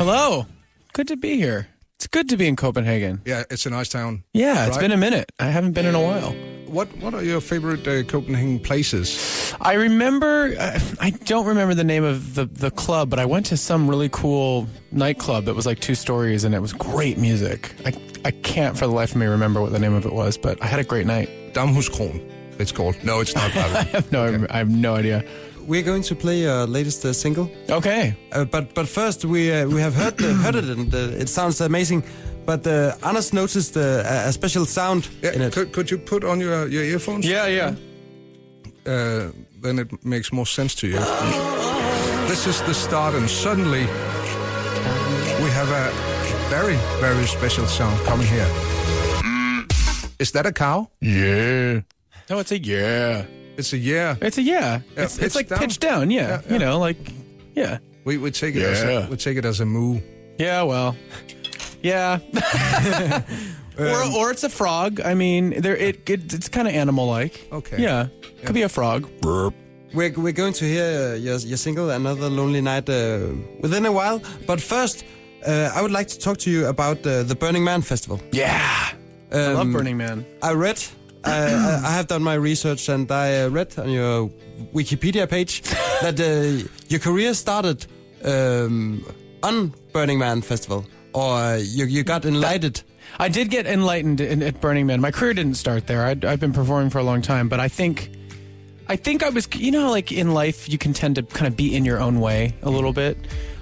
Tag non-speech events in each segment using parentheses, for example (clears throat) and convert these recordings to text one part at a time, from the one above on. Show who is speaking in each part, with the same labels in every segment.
Speaker 1: Hello. Good to be here. It's good to be in Copenhagen.
Speaker 2: Yeah, it's a nice town.
Speaker 1: Yeah, it's
Speaker 2: Right.
Speaker 1: been a minute. I haven't been in a while.
Speaker 2: What What are your favorite uh, Copenhagen places?
Speaker 1: I remember, I- I don't remember the name of the, the club, but I went to some really cool nightclub that was like two stories and it was great music. I, I can't for the life of me remember what the name of it was, but I had a great night. (laughs)
Speaker 2: Damhuskron, it's called. No, it's not that.
Speaker 1: I have no, I have no idea.
Speaker 3: (laughs) We're going to play your latest uh, single,
Speaker 1: Okay.
Speaker 3: uh, but but first we uh, we have heard the, heard it and uh, it sounds amazing. But uh, Anders noticed uh, a a special sound in
Speaker 2: Yeah,
Speaker 3: it.
Speaker 2: could, could you put on your, your earphones?
Speaker 1: Yeah, yeah.
Speaker 2: Uh, then it makes more sense to you. This is the start, and suddenly we have a very, very special sound coming here. Is that a cow?
Speaker 1: Mm. Yeah. No, it's a yeah.
Speaker 2: It's a yeah.
Speaker 1: It's a yeah. it's
Speaker 2: pitch
Speaker 1: it's like
Speaker 2: down.
Speaker 1: pitch down. Yeah.
Speaker 2: Yeah, yeah.
Speaker 1: You know, like yeah.
Speaker 2: We we take it as a,
Speaker 1: Yeah.
Speaker 2: we take it as a moo.
Speaker 1: Yeah. Well. Yeah. or or it's a frog. I mean, there it, it it's kind of animal like.
Speaker 2: Okay.
Speaker 1: Yeah. Could be a frog.
Speaker 3: We're, we're going to hear uh, your, your single, Another Lonely Night, uh, within a while. But first, uh, I would like to talk to you about uh, the Burning Man Festival.
Speaker 1: Yeah. I love Burning Man.
Speaker 3: I read, uh, I, I, I have done my research, and I uh, read on your
Speaker 2: (laughs)
Speaker 3: Wikipedia page that uh, your career started um, on Burning Man Festival, or uh, you, you got enlightened.
Speaker 1: I did get enlightened in, at Burning Man. My career didn't start there. I'd, I've been performing for a long time, but I think, I think I was, you know, like in life, you can tend to kind of be in your own way a little bit.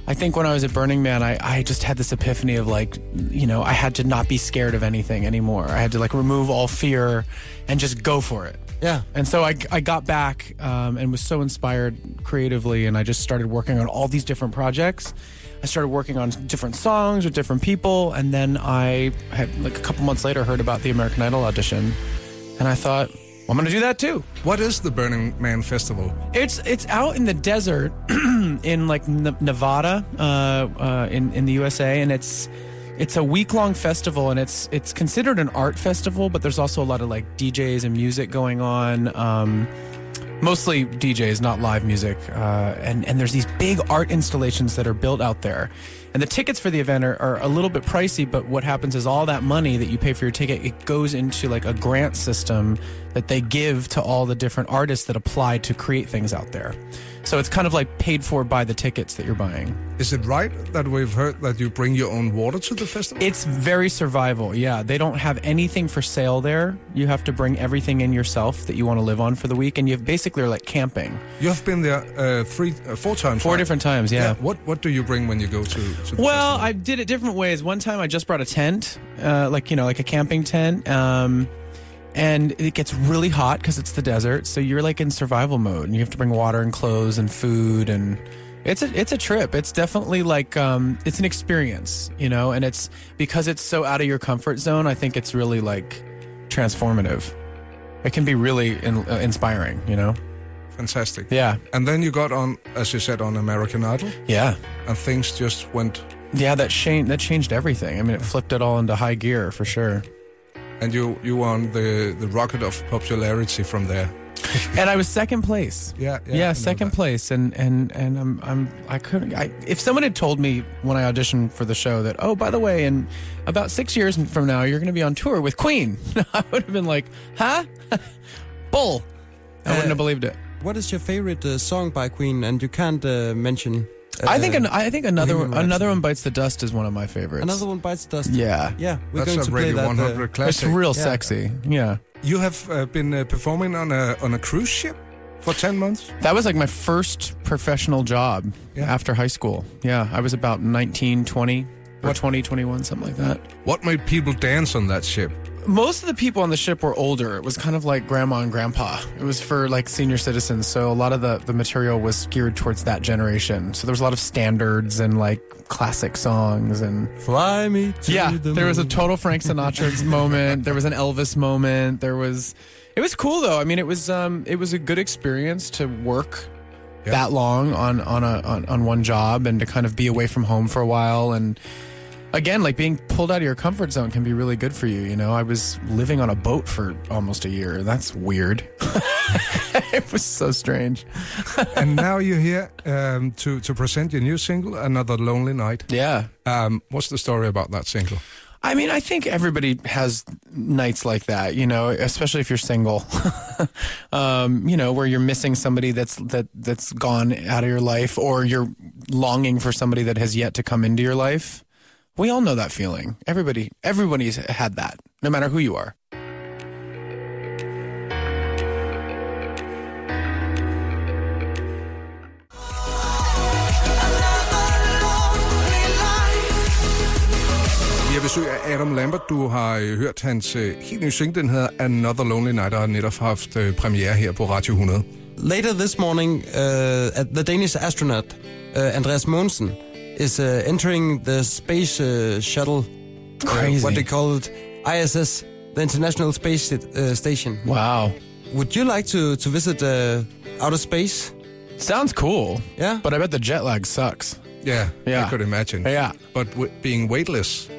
Speaker 1: I think when I was at Burning Man, I, I just had this epiphany of like, you know, I had to not be scared of anything anymore. I had to like remove all fear and just go for it.
Speaker 3: Yeah.
Speaker 1: And so I, I got back um, and was so inspired creatively, and I just started working on all these different projects. I started working on different songs with different people, and then I had like a couple months later heard about the American Idol audition, and I thought, well, I'm going to do that too.
Speaker 2: What is the Burning Man Festival?
Speaker 1: It's it's out in the desert (clears throat) in like Ne- Nevada uh, uh, in in the USA, and it's it's a week long festival, and it's it's considered an art festival, but there's also a lot of like DJs and music going on. Um, mostly DJs, not live music. Uh, and, and there's these big art installations that are built out there. And the tickets for the event are, are a little bit pricey, but what happens is all that money that you pay for your ticket, it goes into like a grant system that they give to all the different artists that apply to create things out there. So it's kind of like paid for by the tickets that you're buying.
Speaker 2: Is it right that we've heard that you bring your own water to the festival?
Speaker 1: It's very survival. Yeah, they don't have anything for sale there. You have to bring everything in yourself that you want to live on for the week, and you basically are like camping.
Speaker 2: you have been there uh, three, uh, four times.
Speaker 1: Four
Speaker 2: right?
Speaker 1: different times. yeah.
Speaker 2: What What do you bring when you go to? to the
Speaker 1: Well, I did it different ways. One time I just brought a tent, uh, like, you know, like a camping tent. Um, and it gets really hot because it's the desert. So you're like in survival mode and you have to bring water and clothes and food. And it's a, it's a trip. It's definitely like, um, it's an experience, you know, and it's because it's so out of your comfort zone. I think it's really like transformative. It can be really in, uh, inspiring, you know?
Speaker 2: festival? fantastic.
Speaker 1: Yeah.
Speaker 2: And then you got on, as you said, on American Idol,
Speaker 1: Yeah.
Speaker 2: and things just went.
Speaker 1: Yeah. That, cha- that changed everything. I mean, it flipped it all into high gear for sure.
Speaker 2: And you you were on the the rocket of popularity from there.
Speaker 1: and I was second place.
Speaker 2: Yeah, yeah,
Speaker 1: yeah,
Speaker 2: I know
Speaker 1: second
Speaker 2: that.
Speaker 1: place, and and and I'm I'm I couldn't. I, if someone had told me when I auditioned for the show that oh by the way, in about six years from now you're going to be on tour with Queen, (laughs) I would have been like, huh, (laughs) bull. I wouldn't have believed it.
Speaker 3: What is your favorite uh, song by Queen? And you can't uh, mention. Uh,
Speaker 1: I think an, I think another
Speaker 3: Bohemian
Speaker 1: one,
Speaker 3: Rhapsody.
Speaker 1: another one bites the dust is one of my favorites.
Speaker 3: Another one bites the dust.
Speaker 1: Yeah.
Speaker 3: Yeah, we're going
Speaker 2: That's
Speaker 3: to
Speaker 2: a
Speaker 3: play
Speaker 2: Radio
Speaker 3: that. uh,
Speaker 2: 100
Speaker 1: It's
Speaker 2: classic.
Speaker 1: real
Speaker 3: Yeah.
Speaker 1: sexy. Yeah.
Speaker 2: You have uh, been uh, performing on a on a cruise ship for ten months.
Speaker 1: That was like my first professional job
Speaker 2: Yeah.
Speaker 1: after high school. Yeah. I was about 19, 20, or 20, 21, something like that.
Speaker 2: What made people dance on that ship?
Speaker 1: most of the people on the ship were older. It was kind of like grandma and grandpa. It was for like senior citizens. So a lot of the, the material was geared towards that generation. So there was a lot of standards and like classic songs and
Speaker 3: Fly me to
Speaker 1: yeah,
Speaker 3: the
Speaker 1: there was a
Speaker 3: moon.
Speaker 1: total Frank
Speaker 3: (laughs)
Speaker 1: Sinatra moment. There was an Elvis moment. There was it was cool though. I mean, it was um it was a good experience to work that long on on a on, on one job and to kind of be away from home for a while and again, like being pulled out of your comfort zone can be really good for you, you know. I was living on a boat for almost a year. That's weird. (laughs) it was so strange.
Speaker 2: and now you're here um, to to present your new single, "Another Lonely Night."
Speaker 1: Yeah.
Speaker 2: Um, what's the story about that single?
Speaker 1: I mean, I think everybody has nights like that, you know, especially if you're single, (laughs) um, you know, where you're missing somebody that's that that's gone out of your life, or you're longing for somebody that has yet to come into your life. We all know that feeling. Everybody, everybody's had that, no matter who you are.
Speaker 2: Vi har besøg af Adam Lambert. Du har øh, hørt hans øh, helt nye single, den hedder Another Lonely Night, og har netop haft øh, premiere her på Radio 100.
Speaker 3: Later this morning, uh, at the Danish astronaut uh, Andreas Mogensen is uh, entering the space uh, shuttle. uh,
Speaker 1: Crazy.
Speaker 3: what they call it, ISS, the International Space Sta- uh, Station.
Speaker 1: Wow,
Speaker 3: Would you like to to visit uh, outer space?
Speaker 1: sounds cool.
Speaker 3: Yeah.
Speaker 1: but I bet the jet lag sucks.
Speaker 2: Yeah, yeah, I
Speaker 1: Yeah.
Speaker 2: could imagine.
Speaker 1: Yeah.
Speaker 2: But w- being weightless,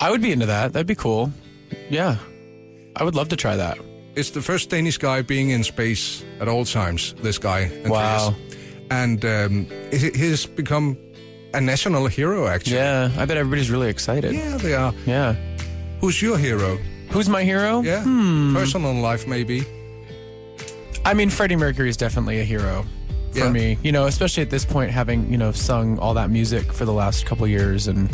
Speaker 1: I would be into that. That'd be cool. Yeah, I would love to try that.
Speaker 2: it's the first Danish guy being in space at all times, this guy. Andreas.
Speaker 1: Wow.
Speaker 2: And um, he- he's become a national hero, actually.
Speaker 1: Yeah, I bet everybody's really excited.
Speaker 2: Yeah, they are.
Speaker 1: Yeah.
Speaker 2: Who's your hero?
Speaker 1: Who's my hero?
Speaker 2: Yeah. Personal life, maybe.
Speaker 1: I mean, Freddie Mercury is definitely a hero for
Speaker 2: Yeah.
Speaker 1: me. You know, especially at this point, having you know sung all that music for the last couple years, and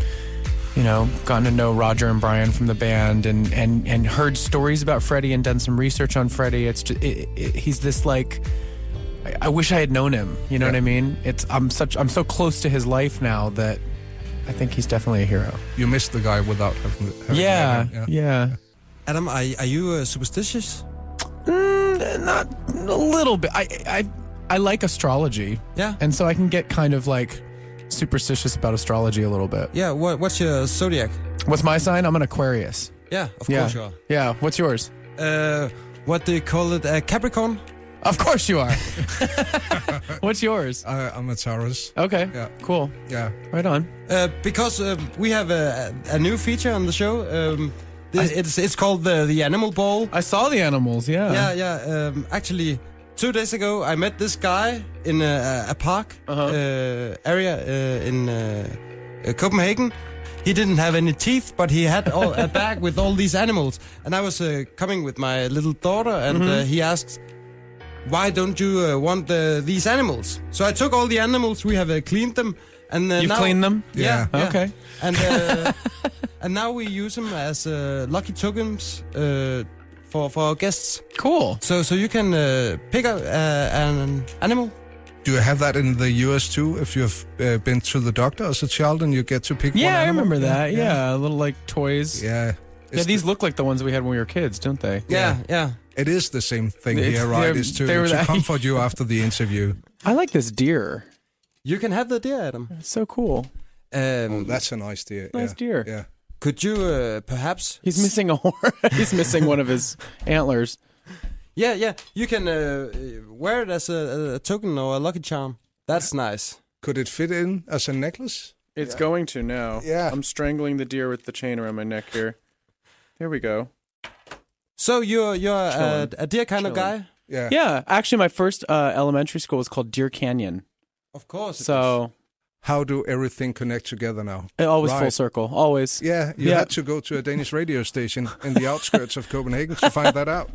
Speaker 1: you know, gotten to know Roger and Brian from the band, and and and heard stories about Freddie and done some research on Freddie. It's just, it, it, he's this like. I- I wish I had known him. You know
Speaker 2: Yeah.
Speaker 1: what I mean? It's I'm such I'm so close to his life now that I think he's definitely a hero.
Speaker 2: You missed the guy without having. having
Speaker 1: Yeah,
Speaker 2: met him,
Speaker 1: yeah.
Speaker 3: Adam, are, are you uh, superstitious?
Speaker 1: Mm, not a little bit. I I I like astrology.
Speaker 3: Yeah.
Speaker 1: And so I can get kind of like superstitious about astrology a little bit.
Speaker 3: Yeah. What, what's your zodiac?
Speaker 1: What's my sign? I'm an Aquarius.
Speaker 3: Yeah, of
Speaker 1: Yeah.
Speaker 3: course you are.
Speaker 1: Yeah. What's yours?
Speaker 3: Uh, what do you call it? Uh, Capricorn?
Speaker 1: Of course you
Speaker 3: (laughs)
Speaker 1: are. What's yours?
Speaker 2: I, Uh, I'm a Taurus.
Speaker 1: Okay.
Speaker 2: Yeah.
Speaker 1: Cool.
Speaker 2: Yeah.
Speaker 1: Right on.
Speaker 3: Uh, because uh, we have a, a new feature on the show. Um, the, it's it's called the the animal ball.
Speaker 1: I saw the animals. Yeah.
Speaker 3: yeah, yeah. Um, actually, two days ago, I met this guy in a, a park
Speaker 1: Uh-huh.
Speaker 3: uh, area uh, in uh, uh, Copenhagen. He didn't have any teeth, but he had all,
Speaker 1: (laughs)
Speaker 3: a bag with all these animals. And I was uh, coming with my little daughter, and
Speaker 1: Mm-hmm.
Speaker 3: uh, he asked, "Why don't you uh, want the, these animals?" So I took all the animals. We have uh, cleaned them, and uh,
Speaker 1: You've
Speaker 3: now,
Speaker 1: cleaned them?
Speaker 3: Yeah. yeah.
Speaker 1: Okay.
Speaker 3: And
Speaker 1: (laughs)
Speaker 3: uh, and now we use them as uh, lucky tokens uh, for for our guests.
Speaker 1: Cool.
Speaker 3: So, so you can uh, pick up uh, an animal.
Speaker 2: Do you have that in the US too? If you've uh, been to the doctor as a child and you get to pick one
Speaker 1: Yeah, I
Speaker 2: animal?
Speaker 1: remember that. Yeah. A little like toys. Yeah.
Speaker 2: Yeah. It's
Speaker 1: these look like the ones we had when we were kids, don't they?
Speaker 3: Yeah, yeah.
Speaker 2: the- it is the same thing
Speaker 1: It's-
Speaker 2: here, right?
Speaker 1: they're-
Speaker 2: It's to,
Speaker 1: they were
Speaker 2: to
Speaker 1: that-
Speaker 2: comfort you after
Speaker 1: (laughs)
Speaker 2: the interview.
Speaker 1: I like this deer.
Speaker 3: You can have the deer, Adam.
Speaker 1: It's so cool.
Speaker 3: Um,
Speaker 2: That's a nice deer.
Speaker 1: Nice
Speaker 2: yeah.
Speaker 1: deer.
Speaker 2: Yeah.
Speaker 3: could you uh, perhaps?
Speaker 1: He's missing a (laughs) horn. He's missing one of his antlers.
Speaker 3: Yeah, yeah. You can uh, uh, wear it as a, a token or a lucky charm. That's nice.
Speaker 2: Could it fit in as a necklace?
Speaker 1: It's going to now.
Speaker 2: Yeah.
Speaker 1: I'm strangling the deer with the chain around my neck here. There we go.
Speaker 3: So you're you're a,
Speaker 1: Chilling.
Speaker 3: a deer kind of
Speaker 1: Chilling.
Speaker 3: guy.
Speaker 2: Yeah.
Speaker 1: Yeah. Actually, my first uh, elementary school was called Deer Canyon.
Speaker 3: Of course. it is.
Speaker 1: So
Speaker 2: How do everything connect together now?
Speaker 1: it always full
Speaker 2: Right.
Speaker 1: circle. Always.
Speaker 2: Yeah, you
Speaker 1: Yeah.
Speaker 2: had to go to a Danish radio station in the outskirts of Copenhagen to find that out.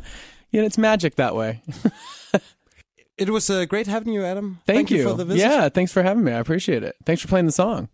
Speaker 1: Yeah, it's magic that way.
Speaker 3: it was uh, great having you, Adam.
Speaker 1: Thank,
Speaker 3: you. for the visit.
Speaker 1: yeah. Thanks for having me. I appreciate it. Thanks for playing the song.